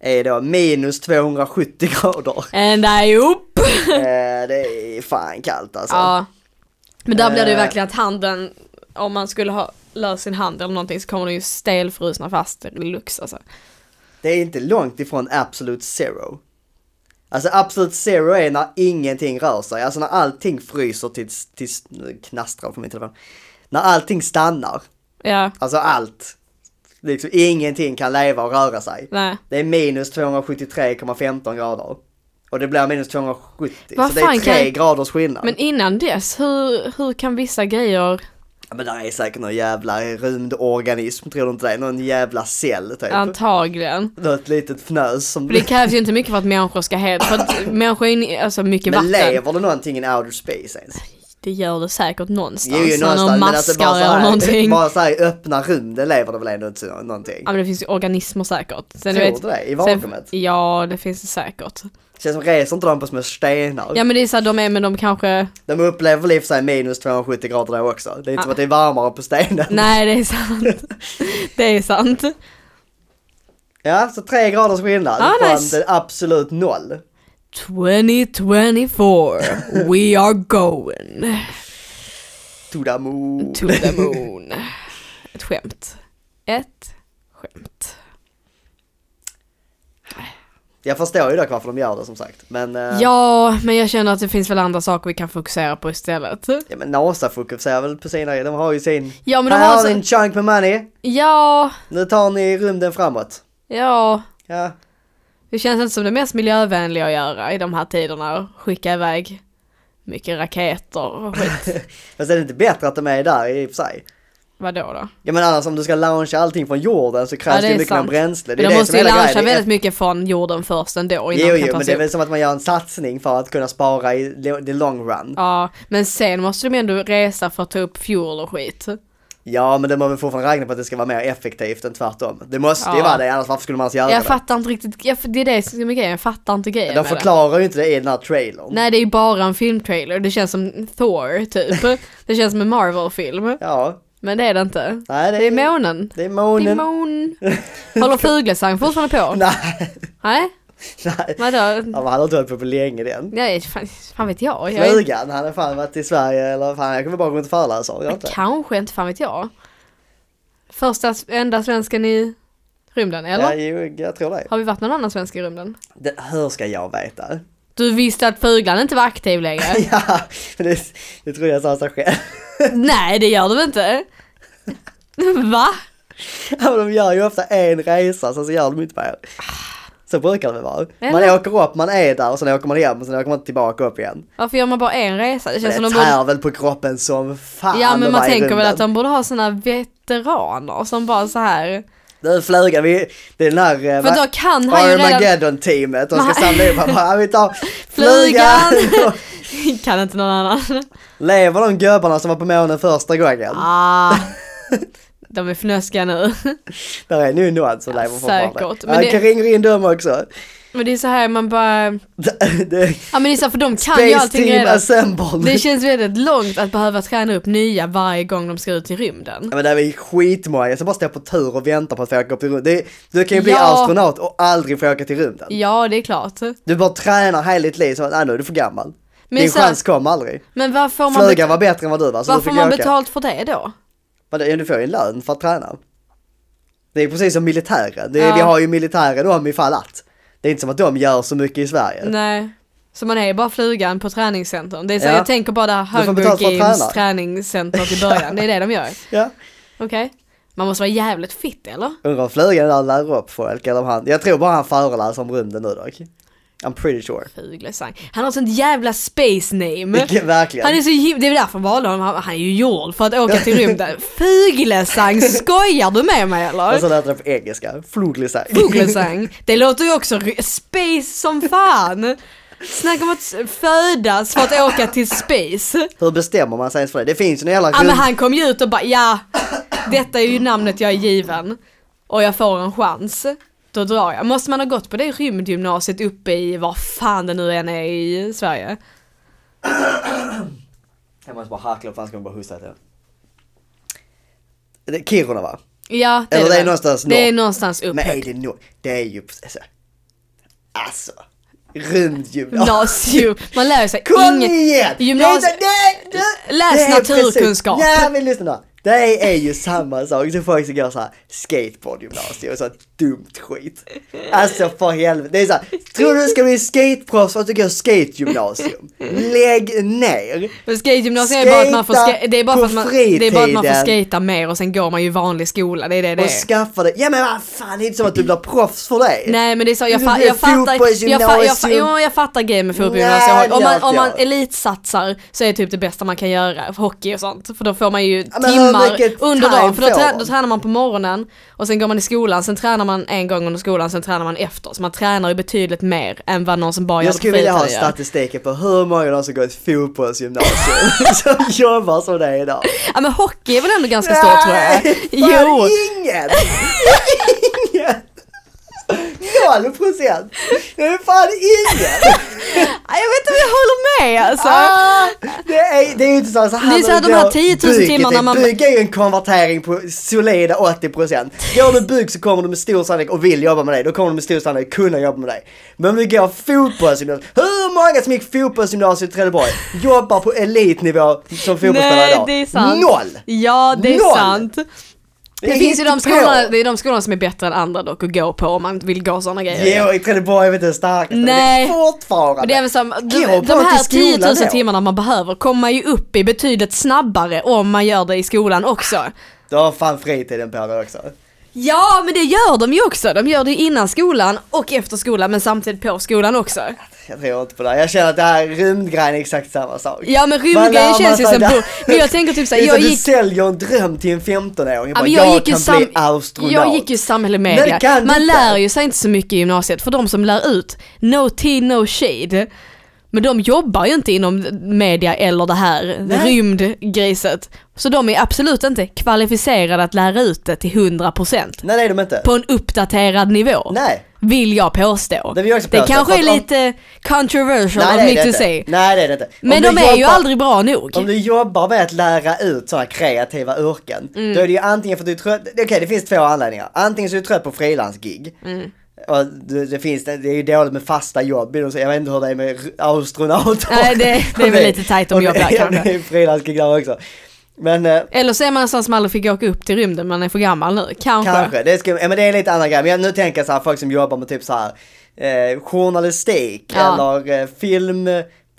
Speaker 2: Är då minus 270 grader.
Speaker 3: And I up.
Speaker 2: eh, det är fan kallt alltså.
Speaker 3: Ja. Men där blir det ju
Speaker 2: Eh.
Speaker 3: verkligen att handen, om man skulle ha löst sin hand eller någonting så kommer den ju stelfrusna fast deluxe alltså.
Speaker 2: Det är inte långt ifrån absolute zero. Alltså absolute zero är när ingenting rör sig, alltså när allting fryser tills, tills nu knastrar på min telefon. När allting stannar,
Speaker 3: Ja,
Speaker 2: alltså allt. Liksom ingenting kan leva och röra sig.
Speaker 3: nej.
Speaker 2: Det är minus 273,15 grader. Och det blir minus 270,
Speaker 3: Vad
Speaker 2: så det är
Speaker 3: fan
Speaker 2: tre
Speaker 3: kan-
Speaker 2: graders skillnad.
Speaker 3: Men innan dess, hur, hur kan vissa
Speaker 2: Eh,
Speaker 3: grejer,
Speaker 2: Ja, Men där är säkert någon jävla rymdorganism, tror du inte det? Någon jävla cell typ.
Speaker 3: antagligen.
Speaker 2: Något litet fnös som...
Speaker 3: För det krävs ju inte mycket för att människor ska helt, för att människor är inne- alltså mycket
Speaker 2: Men
Speaker 3: vatten.
Speaker 2: lever det någonting i outer space ens?
Speaker 3: Det gör det säkert någonstans.
Speaker 2: Jo, ju
Speaker 3: när de
Speaker 2: någonstans, men alltså
Speaker 3: maskar
Speaker 2: bara
Speaker 3: eller någonting.
Speaker 2: såhär, bara såhär i öppna rymden lever det väl ändå inte så- någonting?
Speaker 3: Ja men det finns ju organismer säkert. Sen,
Speaker 2: Tror du det? I vakuumet?
Speaker 3: Sen, ja det finns det säkert.
Speaker 2: Känns som reser inte de på små stenar?
Speaker 3: Ja men det är såhär de är men de kanske,
Speaker 2: De upplever väl i och för sig minus 270 grader där också. Det är inte som
Speaker 3: Ah.
Speaker 2: att det är varmare på stenen.
Speaker 3: nej det är sant. det är sant.
Speaker 2: Ja, så tre graders skillnad
Speaker 3: Ah,
Speaker 2: från
Speaker 3: nice.
Speaker 2: det absolut noll.
Speaker 3: 2024, we are going
Speaker 2: To the moon.
Speaker 3: to the moon. Ett skämt. Ett skämt.
Speaker 2: Jag förstår ju dock varför de gör det som sagt. Men, eh,
Speaker 3: Ja, men jag känner att det finns väl andra saker vi kan fokusera på istället.
Speaker 2: ja, men NASA fokuserar väl på sina, de har ju sin,
Speaker 3: Ja, men de
Speaker 2: här
Speaker 3: har
Speaker 2: har
Speaker 3: så-
Speaker 2: ni en chunk med money,
Speaker 3: Ja,
Speaker 2: nu tar ni rymden framåt.
Speaker 3: ja.
Speaker 2: Ja,
Speaker 3: Det känns inte som det mest miljövänliga att göra i de här tiderna. att Skicka iväg mycket raketer och skit.
Speaker 2: fast är det inte bättre att de är där i och för sig?
Speaker 3: Vadå då?
Speaker 2: Ja men annars om du ska launcha allting från jorden så krävs
Speaker 3: Ja,
Speaker 2: det
Speaker 3: det
Speaker 2: ju
Speaker 3: är
Speaker 2: mycket mer
Speaker 3: sant.
Speaker 2: bränsle. Det
Speaker 3: Men
Speaker 2: är
Speaker 3: de
Speaker 2: det som
Speaker 3: måste ju
Speaker 2: är hela
Speaker 3: launcha
Speaker 2: grejen.
Speaker 3: väldigt mycket från jorden först ändå innan
Speaker 2: Jo,
Speaker 3: det
Speaker 2: jo,
Speaker 3: kan
Speaker 2: men
Speaker 3: tas
Speaker 2: det är
Speaker 3: upp.
Speaker 2: väl som att man gör en satsning för att kunna spara i lo- the long run. Ja,
Speaker 3: Ja, men sen måste de ändå resa för att ta upp fuel och skit.
Speaker 2: men det måste väl fortfarande räkna på att det ska vara mer effektivt än tvärtom. Det måste ju
Speaker 3: Ja.
Speaker 2: vara det, annars varför skulle man ens göra
Speaker 3: Jag
Speaker 2: det?
Speaker 3: fattar inte riktigt, jag, det är det som är grejen, jag fattar inte grejen
Speaker 2: De
Speaker 3: med
Speaker 2: förklarar ju inte det i den här trailern.
Speaker 3: det. Nej det är ju bara en filmtrailer, det känns som Thor typ. det känns som en Marvel-film.
Speaker 2: Ja,
Speaker 3: Men det är det inte.
Speaker 2: nej det,
Speaker 3: Det är månen.
Speaker 2: Det är
Speaker 3: Det är
Speaker 2: månen.
Speaker 3: månen. Håller fuglesang fortfarande på?
Speaker 2: Nej,
Speaker 3: Nej?
Speaker 2: nej.
Speaker 3: Vadå?
Speaker 2: Ja, men han har inte hållit på på länge den.
Speaker 3: Nej, fan, fan vet jag. jag är,
Speaker 2: Flugan, han har fan varit i Sverige eller fan, jag kommer bara gå runt och föreläsa. gör jag inte?
Speaker 3: kanske inte, fan vet jag. Första, s- enda svensken i rymden, eller?
Speaker 2: Ja, jo, jag tror det.
Speaker 3: Har vi varit någon annan svensk i rymden?
Speaker 2: det. Hur ska jag veta?
Speaker 3: Du visste att fuglan inte var aktiv längre?
Speaker 2: Ja, men det, det trodde jag sa sig själv.
Speaker 3: Nej, det gör du väl inte? Va?
Speaker 2: Ja, men de gör ju ofta en resa, sen så gör de inte mer. Så brukar det väl vara. Man
Speaker 3: Eller?
Speaker 2: åker upp, man är där och sen åker man hem och sen åker man tillbaka upp igen.
Speaker 3: Varför gör man bara en resa? Det
Speaker 2: Det
Speaker 3: känns som de borde...
Speaker 2: tär väl på kroppen som fan
Speaker 3: Ja
Speaker 2: att
Speaker 3: men man
Speaker 2: vara i
Speaker 3: tänker väl
Speaker 2: rymden.
Speaker 3: att de borde ha såna veteraner som bara så här.
Speaker 2: Nu flugan, vi, det är den här eh,
Speaker 3: För
Speaker 2: va-
Speaker 3: då kan han ju redan...
Speaker 2: Armageddon-teamet, de ska
Speaker 3: Nej.
Speaker 2: samla ihop, han bara, "Ja, vi tar flugan!
Speaker 3: Flugan! kan inte någon annan.
Speaker 2: Lever de gubbarna som var på månen första gången?
Speaker 3: Ah, de är fnöskiga nu.
Speaker 2: Där är nu någon som lever fortfarande.
Speaker 3: säkert, men
Speaker 2: Ja,
Speaker 3: det-
Speaker 2: kan ringa in dem också.
Speaker 3: Men det är så här man bara...
Speaker 2: Det- det-
Speaker 3: Ja men det är så här, för de kan ju
Speaker 2: Space
Speaker 3: allting
Speaker 2: team alltså,
Speaker 3: redan.
Speaker 2: assembled.
Speaker 3: Det känns väldigt långt att behöva träna upp nya varje gång de ska ut i rymden.
Speaker 2: Ja, men det är väl skitmånga som bara står på tur och väntar på att få åka upp till rymden. Det- Du kan ju bli
Speaker 3: Ja.
Speaker 2: astronaut och aldrig få åka till rymden.
Speaker 3: Ja, det är klart.
Speaker 2: Du bara tränar hela ditt liv, så att, "Nej, nu är du för gammal.
Speaker 3: Men
Speaker 2: Din
Speaker 3: så här-
Speaker 2: chans kom aldrig.
Speaker 3: Men vad får man,
Speaker 2: Flugan
Speaker 3: bet-
Speaker 2: var bättre än vad du var, så
Speaker 3: vad
Speaker 2: du
Speaker 3: får
Speaker 2: fick
Speaker 3: man
Speaker 2: åka.
Speaker 3: betalt för det då?
Speaker 2: Men det- du får ju en lön för att träna. Det är precis som militären. Det är,
Speaker 3: Ja.
Speaker 2: Vi har ju militären om ifall att. Det är inte som att de gör så mycket i Sverige.
Speaker 3: Nej. Så man är bara flugan på träningscentern. Det är så här,
Speaker 2: Ja.
Speaker 3: jag tänker bara det
Speaker 2: får
Speaker 3: här
Speaker 2: betalt för att
Speaker 3: Hunger
Speaker 2: träna.
Speaker 3: Games träningscentret i början. Det är det de gör.
Speaker 2: Ja.
Speaker 3: Okej. Man måste vara jävligt fitt eller?
Speaker 2: Undrar om flugan där lär upp folk eller om han. Jag tror bara han föreläser om rymden nu dock. I'm pretty sure.
Speaker 3: Fuglesang. Han har sånt jävla space name.
Speaker 2: Vilken, verkligen.
Speaker 3: Han är så him- det är därför man valde honom, han han är ju gjord för att åka till rymden. Fuglesang, skojar du med mig
Speaker 2: Och så
Speaker 3: eller?
Speaker 2: låter det på engelska. Fluglisang.
Speaker 3: Fuglesang, det låter ju också ry- space som fan. Snacka om att s- födas för att åka till space.
Speaker 2: Hur bestämmer man sig ens för det? Det finns ju en jävla
Speaker 3: Ja
Speaker 2: rymd...
Speaker 3: men han kom ju ut och bara ja, detta är ju namnet jag är given och jag får en chans. Då drar jag. Måste man ha gått på det rymdgymnasiet uppe i var fan det nu än är i Sverige?
Speaker 2: Jag måste bara hackla upp, för annars kommer jag bara hosta till. Det är Kiruna va?
Speaker 3: Ja, det
Speaker 2: Eller
Speaker 3: är
Speaker 2: det är
Speaker 3: väl.
Speaker 2: någonstans
Speaker 3: Det är
Speaker 2: norr.
Speaker 3: någonstans uppe.
Speaker 2: Men är det nog... Det är ju... Alltså... alltså Rymdgymnasium.
Speaker 3: gymnasium. Man lär sig
Speaker 2: Kom
Speaker 3: inget.
Speaker 2: igen!
Speaker 3: Gymnasie-
Speaker 2: Det är inte- det- det-
Speaker 3: Läs
Speaker 2: det är
Speaker 3: naturkunskap.
Speaker 2: precis- Nej men lyssna då. Det är ju samma sak som folk som går såhär skateboardgymnasium och sånt dumt skit. Alltså för helvete. Det är såhär, tror du ska bli skateproffs för att du går skategymnasium? Lägg ner!
Speaker 3: Men Skategymnasium är bara att man får
Speaker 2: Skata
Speaker 3: ska- det är bara för att
Speaker 2: på
Speaker 3: man, det är bara att man
Speaker 2: fritiden.
Speaker 3: får skata mer och sen går man ju vanlig skola. Det är det det
Speaker 2: Och
Speaker 3: är.
Speaker 2: skaffa dig, ja men vad fan det är inte som att du blir proffs för det.
Speaker 3: Nej men det är så, jag,
Speaker 2: Du
Speaker 3: fa-
Speaker 2: blir
Speaker 3: jag fattar, jag, fa- jag, fa-
Speaker 2: fotbollsgymnasium.
Speaker 3: jo, jag fattar grejen med fotbollsgymnasium.
Speaker 2: Nej,
Speaker 3: Om man,
Speaker 2: det
Speaker 3: om man
Speaker 2: gör jag.
Speaker 3: elitsatsar så är det typ det bästa man kan göra, hockey och sånt. För då får man ju
Speaker 2: Ja, men hur
Speaker 3: timmar
Speaker 2: mycket
Speaker 3: under
Speaker 2: time
Speaker 3: dagen. För då,
Speaker 2: får
Speaker 3: trä-
Speaker 2: man?
Speaker 3: då tränar man på morgonen och sen går man i skolan, sen tränar man en gång under skolan, sen tränar man efter. Så man tränar ju betydligt mer än vad någon som bara gör
Speaker 2: Jag
Speaker 3: det på
Speaker 2: skulle vilja ha
Speaker 3: fritiden gör.
Speaker 2: statistiken på hur många av de som går ett fotbollsgymnasium som jobbar som det är idag.
Speaker 3: Ja men hockey är väl ändå ganska stor tror jag. Jo!
Speaker 2: Jo! Ingen! ingen! Noll procent! Det är fan ingen!
Speaker 3: Ja, Jag vet inte om jag håller med alltså.
Speaker 2: Ah, det, är, det är ju inte så, så här
Speaker 3: Det är så här
Speaker 2: när
Speaker 3: de här
Speaker 2: går
Speaker 3: 10 000
Speaker 2: bygget,
Speaker 3: timmarna
Speaker 2: det-
Speaker 3: man-
Speaker 2: Bygg är ju en konvertering på solida 80 procent. Går du bygg så kommer du med stor sannolikhet och vill jobba med dig, då kommer du med stor sannolikhet kunna jobba med dig. Men om du går fotbollsgymnasium, hur många som gick fotbollsgymnasium i Trelleborg jobbar på elitnivå som fotbollsspelare
Speaker 3: Nej
Speaker 2: idag?
Speaker 3: det är sant.
Speaker 2: Noll!
Speaker 3: Ja det är
Speaker 2: Noll.
Speaker 3: sant. Det,
Speaker 2: är
Speaker 3: finns ju de
Speaker 2: hittepå.
Speaker 3: skolorna, det är de skolorna som är bättre än andra dock att gå på om man vill gå sådana grejer.
Speaker 2: Jo, i Trelleborg är vi inte den starkaste.
Speaker 3: Nej.
Speaker 2: Men det är fortfarande.
Speaker 3: Men det är väl som,
Speaker 2: Gå
Speaker 3: de,
Speaker 2: bara
Speaker 3: de här
Speaker 2: till skolan
Speaker 3: 10 000
Speaker 2: då.
Speaker 3: timmarna man behöver kommer ju upp i betydligt snabbare om man gör det i skolan också.
Speaker 2: Du har fan fritiden på dig också.
Speaker 3: Ja men det gör de ju också, de gör det ju innan skolan och efter skolan men samtidigt på skolan också.
Speaker 2: Jag tror inte på det. här. Jag känner att det här rymdgrejen är exakt samma sak.
Speaker 3: Ja men
Speaker 2: Man lär
Speaker 3: rymdgrejen känns ju
Speaker 2: sig
Speaker 3: som,
Speaker 2: där.
Speaker 3: bo- men jag tänker typ
Speaker 2: Det är
Speaker 3: såhär,
Speaker 2: som
Speaker 3: jag
Speaker 2: du
Speaker 3: gick
Speaker 2: säljer en dröm till en 15-åring.
Speaker 3: Ja,
Speaker 2: Bara,
Speaker 3: men
Speaker 2: jag,
Speaker 3: jag, gick
Speaker 2: kan
Speaker 3: ju sam-
Speaker 2: bli astronaut.
Speaker 3: jag gick ju samhälle med
Speaker 2: Nej, det kan du
Speaker 3: Man
Speaker 2: inte.
Speaker 3: lär ju sig inte så mycket i gymnasiet för de som lär ut, no tea no shade. Men de jobbar ju inte inom media eller det här
Speaker 2: Nej.
Speaker 3: rymdgriset. Så de är absolut inte kvalificerade att lära ut det till 100%
Speaker 2: Nej det är de inte.
Speaker 3: på en uppdaterad nivå.
Speaker 2: Nej.
Speaker 3: Vill jag påstå.
Speaker 2: Det vill jag också påstå,
Speaker 3: kanske
Speaker 2: för att
Speaker 3: är
Speaker 2: om-
Speaker 3: lite controversial
Speaker 2: Nej,
Speaker 3: av
Speaker 2: det är
Speaker 3: mig
Speaker 2: det
Speaker 3: to
Speaker 2: inte.
Speaker 3: say.
Speaker 2: Nej det är det inte.
Speaker 3: Men
Speaker 2: Om
Speaker 3: de
Speaker 2: du
Speaker 3: är ju
Speaker 2: jobbar-
Speaker 3: aldrig bra nog.
Speaker 2: Om du jobbar med att lära ut sådana kreativa yrken,
Speaker 3: Mm.
Speaker 2: då är det ju antingen för att du är trött, okej det finns två anledningar. Antingen så är du trött på frilansgig.
Speaker 3: Mm.
Speaker 2: Och det, det, finns, det är ju dåligt med fasta jobb, jag vet inte hur det är med r- astronauter.
Speaker 3: Nej, det- det är väl lite tajt om
Speaker 2: Och det-
Speaker 3: jobb där,
Speaker 2: ja,
Speaker 3: kanske.
Speaker 2: Det är frilansgig där också. Men eh,
Speaker 3: Eller så är man en sån som aldrig fick åka upp till rymden, man är för gammal nu. Kanske.
Speaker 2: kanske, det, ska, ja, men det är lite annan grej. Men jag, nu tänker jag så här, folk som jobbar med typ så här eh, journalistik
Speaker 3: Ja. Mm.
Speaker 2: eller eh, film,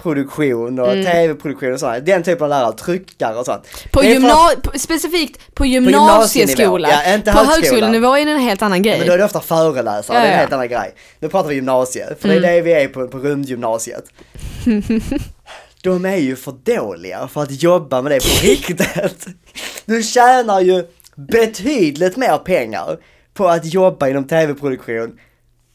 Speaker 2: produktion och tv-produktion och sådär. Den typen av lärare, tryckare och sånt.
Speaker 3: På
Speaker 2: Det är för att-
Speaker 3: gymna- på- specifikt på gymnasieskola.
Speaker 2: gymnasienivå. Ja, inte
Speaker 3: på
Speaker 2: högskolan.
Speaker 3: högskolenivå är det en helt annan grej.
Speaker 2: Men då är det ofta föreläsare,
Speaker 3: Ja,
Speaker 2: det är en
Speaker 3: ja. Mm.
Speaker 2: helt annan grej. Nu pratar vi gymnasiet, för det är det vi är på, på rymdgymnasiet. De är ju för dåliga för att jobba med det på riktigt. Du tjänar ju betydligt mer pengar på att jobba inom tv-produktion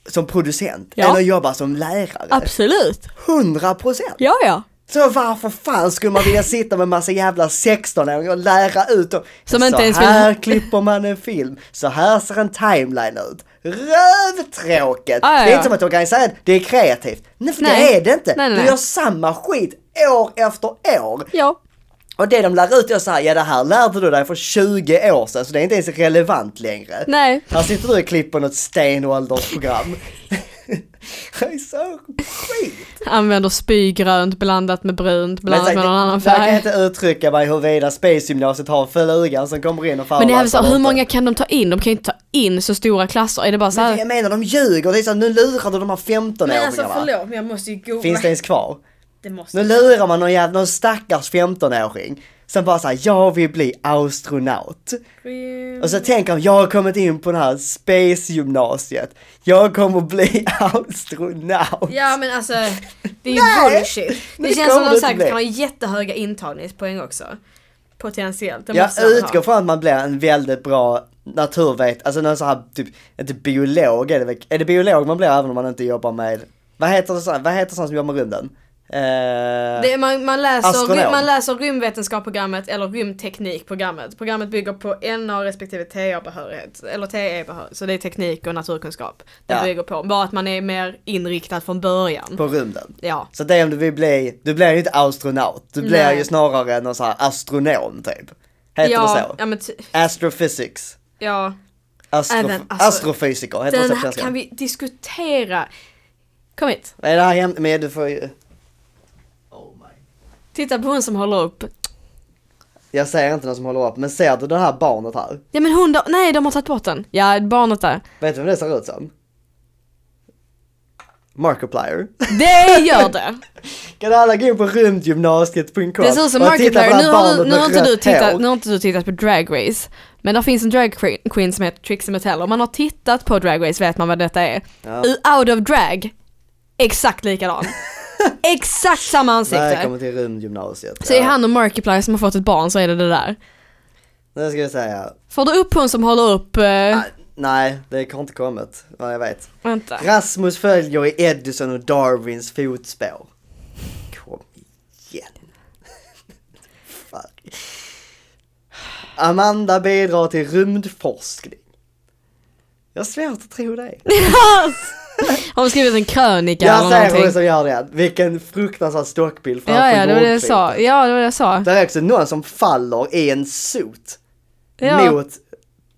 Speaker 2: som producent
Speaker 3: Ja.
Speaker 2: än att jobba som lärare.
Speaker 3: Absolut.
Speaker 2: 100 procent!
Speaker 3: Ja, ja.
Speaker 2: Så varför fan skulle man vilja sitta med massa jävla 16-åringar och lära ut dem?
Speaker 3: Som
Speaker 2: så
Speaker 3: inte ens vill-
Speaker 2: här klipper man en film, så här ser en timeline ut. Rövtråkigt!
Speaker 3: Ah, ja,
Speaker 2: Det är
Speaker 3: ja.
Speaker 2: inte som att organisera det är kreativt. Nej för det
Speaker 3: Nej.
Speaker 2: är det inte.
Speaker 3: Nej, nej,
Speaker 2: du
Speaker 3: nej.
Speaker 2: gör samma skit år efter år.
Speaker 3: Ja.
Speaker 2: Och det de lär ut är såhär, ja det här lärde du dig för 20 år sedan så det är inte ens relevant längre.
Speaker 3: Nej.
Speaker 2: Här sitter du och klipper något stenåldersprogram. det är så skit!
Speaker 3: Använder spygrönt blandat med brunt, blandat
Speaker 2: exakt,
Speaker 3: med någon annan
Speaker 2: Jag kan
Speaker 3: färg.
Speaker 2: inte uttrycka mig huruvida Spacegymnasiet har flugan som kommer in och
Speaker 3: Men det här är
Speaker 2: föroläsar
Speaker 3: så, hur
Speaker 2: åt
Speaker 3: många kan de ta in? De kan ju inte ta in så stora klasser. Är det bara så
Speaker 2: Men
Speaker 3: här?
Speaker 2: Alltså, jag menar de ljuger, det är så, här, nu lurar du de här 15
Speaker 1: Men alltså
Speaker 2: åringarna.
Speaker 1: förlåt men jag måste ju googla.
Speaker 2: Finns det ens kvar?
Speaker 1: Det måste.
Speaker 2: Nu lurar man någon, jävla, någon stackars 15-åring. Sen bara såhär, jag vill bli astronaut. Och
Speaker 1: Mm.
Speaker 2: så tänker han, jag har kommit in på det här spacegymnasiet. Jag kommer bli astronaut.
Speaker 1: Ja men alltså det är ju
Speaker 2: Nej!
Speaker 1: bullshit. Det
Speaker 2: Nej,
Speaker 1: känns som
Speaker 2: kommer
Speaker 1: de
Speaker 2: inte
Speaker 1: säkert
Speaker 2: bli.
Speaker 1: kan ha jättehöga intagningspoäng också. Potentiellt. Det
Speaker 2: Jag
Speaker 1: måste de
Speaker 2: utgår
Speaker 1: ha.
Speaker 2: från att man blir en väldigt bra naturvet, alltså någon sån här typ, inte biolog är det väl, är det biolog man blir även om man inte jobbar med, vad heter det så, vad heter sånt som jobbar med rymden? Eh,
Speaker 1: det, man, man, läser,
Speaker 2: Astronom.
Speaker 1: ry- man läser rymdvetenskapsprogrammet eller rymdteknikprogrammet. Programmet bygger på NA respektive TA-behörighet. Eller TE-behörighet. Så det är teknik och naturkunskap. Det
Speaker 2: Ja.
Speaker 1: bygger på. Bara att man är mer inriktad från början.
Speaker 2: På rymden.
Speaker 1: Ja.
Speaker 2: Så det är om du vill bli, du blir ju inte astronaut, du blir
Speaker 1: Nej.
Speaker 2: ju snarare någon sån här astronom typ. Heter det
Speaker 1: ja,
Speaker 2: så?
Speaker 1: ja, men ty-
Speaker 2: Astrophysics.
Speaker 1: ja.
Speaker 2: Astro,
Speaker 1: Även, alltså,
Speaker 2: astrofysiker heter det så
Speaker 1: Den
Speaker 2: på
Speaker 1: här
Speaker 2: svenska.
Speaker 1: kan vi diskutera. Kom hit.
Speaker 2: Vad är det här jäm- men du får ju,
Speaker 3: Titta på hon som håller upp.
Speaker 2: jag säger inte någon som håller upp, men ser du det här barnet här?
Speaker 3: Ja men hon då, nej de har tagit bort den. Ja, barnet där.
Speaker 2: Vet du vad det ser ut som? Markiplier.
Speaker 3: Det gör det!
Speaker 2: Kan alla gå in på rymdgymnasiet.com
Speaker 3: Det ser ut som
Speaker 2: och titta på det
Speaker 3: Markiplier,
Speaker 2: här
Speaker 3: nu har,
Speaker 2: barnet
Speaker 3: du, nu,
Speaker 2: med
Speaker 3: har inte du
Speaker 2: rött hår.
Speaker 3: tittat, nu har inte du tittat på Drag Race. Men där finns en drag queen- queen som heter Trixie Mattel. Om man har tittat på Drag Race vet man vad detta är.
Speaker 2: Ja.
Speaker 3: U- Out of drag, exakt likadan. exakt samma ansikte.
Speaker 2: Välkommen till rymdgymnasiet.
Speaker 3: Så är han och Markiplier som har fått ett barn så är det det där.
Speaker 2: Nu ska vi säga.
Speaker 3: Får du upp hon som håller upp, eh,
Speaker 2: Ah, Nej, det har inte kommit vad jag vet.
Speaker 3: vänta.
Speaker 2: Rasmus följer i Edison och Darwins fotspår. Kom igen. Fan. Amanda bidrar till rymdforskning. Jag har svårt att tro det.
Speaker 3: Har hon skrivit en krönika
Speaker 2: Jag
Speaker 3: eller
Speaker 2: säger hon
Speaker 3: någonting?
Speaker 2: som gör det. Vilken fruktansvärd stockbild framför
Speaker 3: Ja, ja, det var det jag
Speaker 2: jordklotet.
Speaker 3: sa. Ja, det var det jag sa.
Speaker 2: Där är också någon som faller i en suit
Speaker 3: Ja.
Speaker 2: mot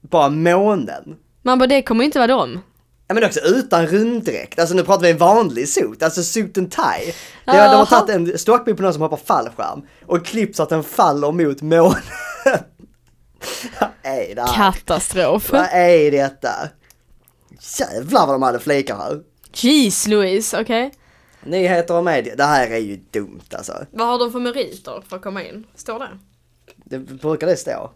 Speaker 2: bara månen.
Speaker 3: Man bara, det kommer inte vara dem.
Speaker 2: Ja, men också utan runddräkt, alltså nu pratar vi en vanlig suit, alltså suit and tie. Det var, de har
Speaker 3: Jaha.
Speaker 2: tagit en stockbild på någon som hoppar fallskärm och klippt så att den faller mot månen. Vad är det här?
Speaker 3: Katastrof.
Speaker 2: Vad är detta? Jävlar vad de hade flikar här.
Speaker 3: Jeez Louise, okej.
Speaker 2: Nyheter och media, det här är ju dumt alltså.
Speaker 1: Vad har de för meriter för att komma in? Står det?
Speaker 2: Det brukar det stå.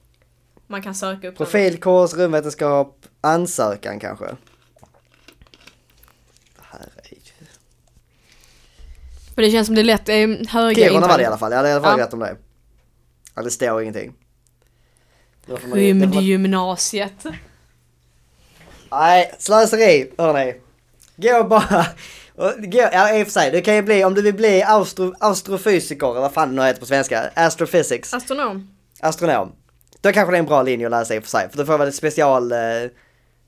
Speaker 1: Man kan söka upp den.
Speaker 2: Profilkurs, rymdvetenskap, ansökan kanske. Det här är ju...
Speaker 3: För det känns som det är lätt, det är
Speaker 2: Kiruna var
Speaker 3: höga
Speaker 2: det i
Speaker 3: intagning.
Speaker 2: alla fall, jag hade i alla fall
Speaker 3: Ja.
Speaker 2: rätt om det. Ja, det står ingenting. Det var för mig- det var-
Speaker 3: Rymdgymnasiet.
Speaker 2: Nej, slöseri hörni. Gå bara. och Gå, ja i och för sig, det kan ju bli, om du vill bli austro, astrofysiker eller vad fan det nu heter på svenska, astrophysics,
Speaker 1: Astronom.
Speaker 2: astronom. Då kanske det är en bra linje att läsa i och för sig, för då får man väl ett special, eh,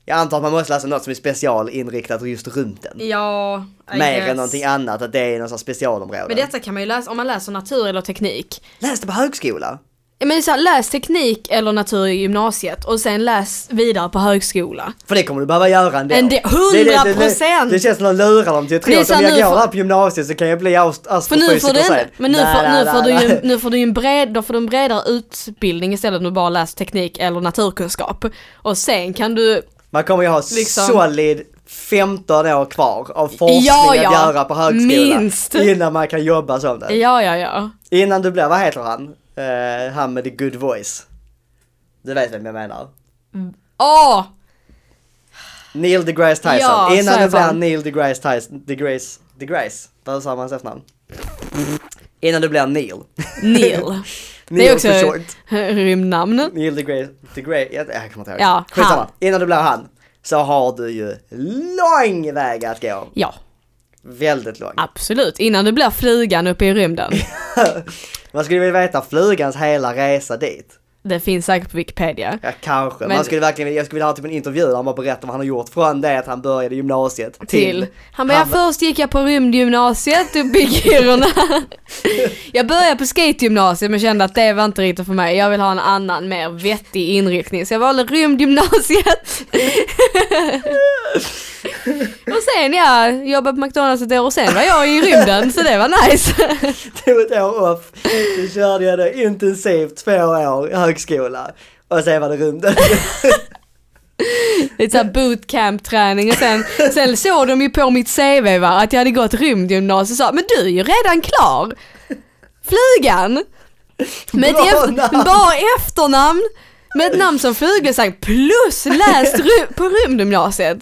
Speaker 2: jag antar att man måste läsa något som är specialinriktat just rymden.
Speaker 1: Ja, I
Speaker 2: Mer än
Speaker 1: guess.
Speaker 2: någonting annat, att det är någon sån här specialområde.
Speaker 1: Men detta kan man ju läsa om man läser natur eller teknik.
Speaker 2: Läs det på högskola.
Speaker 3: Ja, Men det är så här, läs teknik eller natur i gymnasiet och sen läs vidare på högskola.
Speaker 2: För det kommer du behöva göra ändå.
Speaker 3: Ändå,
Speaker 2: Det- det- det-
Speaker 3: 100%.
Speaker 2: Det känns som att de lurar dem till att
Speaker 3: Det
Speaker 2: tro
Speaker 3: är
Speaker 2: att
Speaker 3: så
Speaker 2: om
Speaker 3: här,
Speaker 2: jag
Speaker 3: nu
Speaker 2: går
Speaker 3: får-
Speaker 2: här på gymnasiet så kan jag bli ast-
Speaker 3: För nu
Speaker 2: astrofysiker
Speaker 3: får du,
Speaker 2: sen.
Speaker 3: en, men nu
Speaker 2: Nej,
Speaker 3: får,
Speaker 2: nej,
Speaker 3: nu får
Speaker 2: nej,
Speaker 3: du ju,
Speaker 2: nej.
Speaker 3: nu får du ju en bred, då får du en bredare utbildning istället för att bara läsa teknik eller naturkunskap. Och sen kan du,
Speaker 2: Man kommer ju ha
Speaker 3: liksom-
Speaker 2: solid 15 år kvar av forskning
Speaker 3: Ja, ja.
Speaker 2: att göra på högskola.
Speaker 3: Minst.
Speaker 2: Innan man kan jobba som det.
Speaker 3: Ja, ja, ja.
Speaker 2: Innan du blir, vad heter han? Eh, han med the good voice. Du vet vem jag menar.
Speaker 3: Åh!
Speaker 2: Neil deGrasse Tyson.
Speaker 3: Ja, så
Speaker 2: Innan
Speaker 3: är
Speaker 2: du blir
Speaker 3: fan.
Speaker 2: Neil deGrasse Tyson, deGrace, deGrace, där sa man hans efternamn. Innan du blir Neil.
Speaker 3: Neil.
Speaker 2: Neil
Speaker 3: också-
Speaker 2: for short.
Speaker 3: Rymdnamn.
Speaker 2: Neil deGrace, deGrace, jag, jag kommer inte ihåg.
Speaker 3: Ja,
Speaker 2: Skitsamma.
Speaker 3: han.
Speaker 2: Innan du blir han så har du ju lång väg att gå.
Speaker 3: Ja,
Speaker 2: Väldigt lång.
Speaker 3: absolut. Innan du blir flugan uppe i rymden.
Speaker 2: Man skulle vilja veta flugans hela resa dit.
Speaker 3: Det finns säkert på Wikipedia.
Speaker 2: Ja, kanske.
Speaker 3: Men-
Speaker 2: Man skulle verkligen, jag skulle vilja ha typ en intervju där han bara berättar vad han har gjort från det att han började gymnasiet till.
Speaker 3: till. Han bara, ja,
Speaker 2: Han-
Speaker 3: först gick jag på rymdgymnasiet uppe i Kiruna. jag började på skategymnasiet men kände att det var inte riktigt för mig. Jag vill ha en annan, mer vettig inriktning. Så jag valde rymdgymnasiet. och sen ja, jobbade på McDonalds ett år och sen var jag i rymden så det var nice.
Speaker 2: tog ett år off. Så körde jag då intensivt två år i högskola. Och sen var det rymden.
Speaker 3: Lite såhär bootcamp träning och sen, sen såg de ju på mitt CV va, att jag hade gått rymdgymnasiet och sa men du är ju redan klar! Flugan! Med ett
Speaker 2: Bra
Speaker 3: efter,
Speaker 2: namn.
Speaker 3: bra efternamn! Med ett namn som flugelsang plus läst ry- på rymdgymnasiet.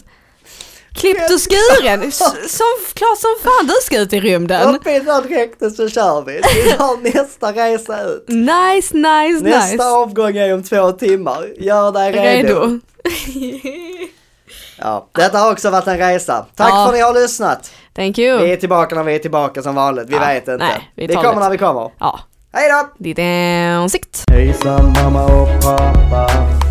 Speaker 3: Klippt och skuren, S- som, klart som fan du ska ut i rymden.
Speaker 2: Upp i direkt så kör vi. Vi tar nästa resa ut.
Speaker 3: Nice, nice,
Speaker 2: Nästa
Speaker 3: nice.
Speaker 2: avgång är om två timmar. Gör dig redo.
Speaker 3: Redo.
Speaker 2: Ja, detta har också varit en resa. Tack
Speaker 3: Ja.
Speaker 2: för att ni har lyssnat.
Speaker 3: Thank
Speaker 2: Vi
Speaker 3: you.
Speaker 2: är tillbaka när vi är tillbaka som vanligt. Vi
Speaker 3: Ja,
Speaker 2: vet inte.
Speaker 3: nej, vi
Speaker 2: vi
Speaker 3: tar
Speaker 2: kommer
Speaker 3: det.
Speaker 2: när vi kommer.
Speaker 3: Ja,
Speaker 2: Hej då!
Speaker 3: ditt ansikt.
Speaker 2: Hejsan mamma och pappa.
Speaker 4: oh, oh, oh, oh,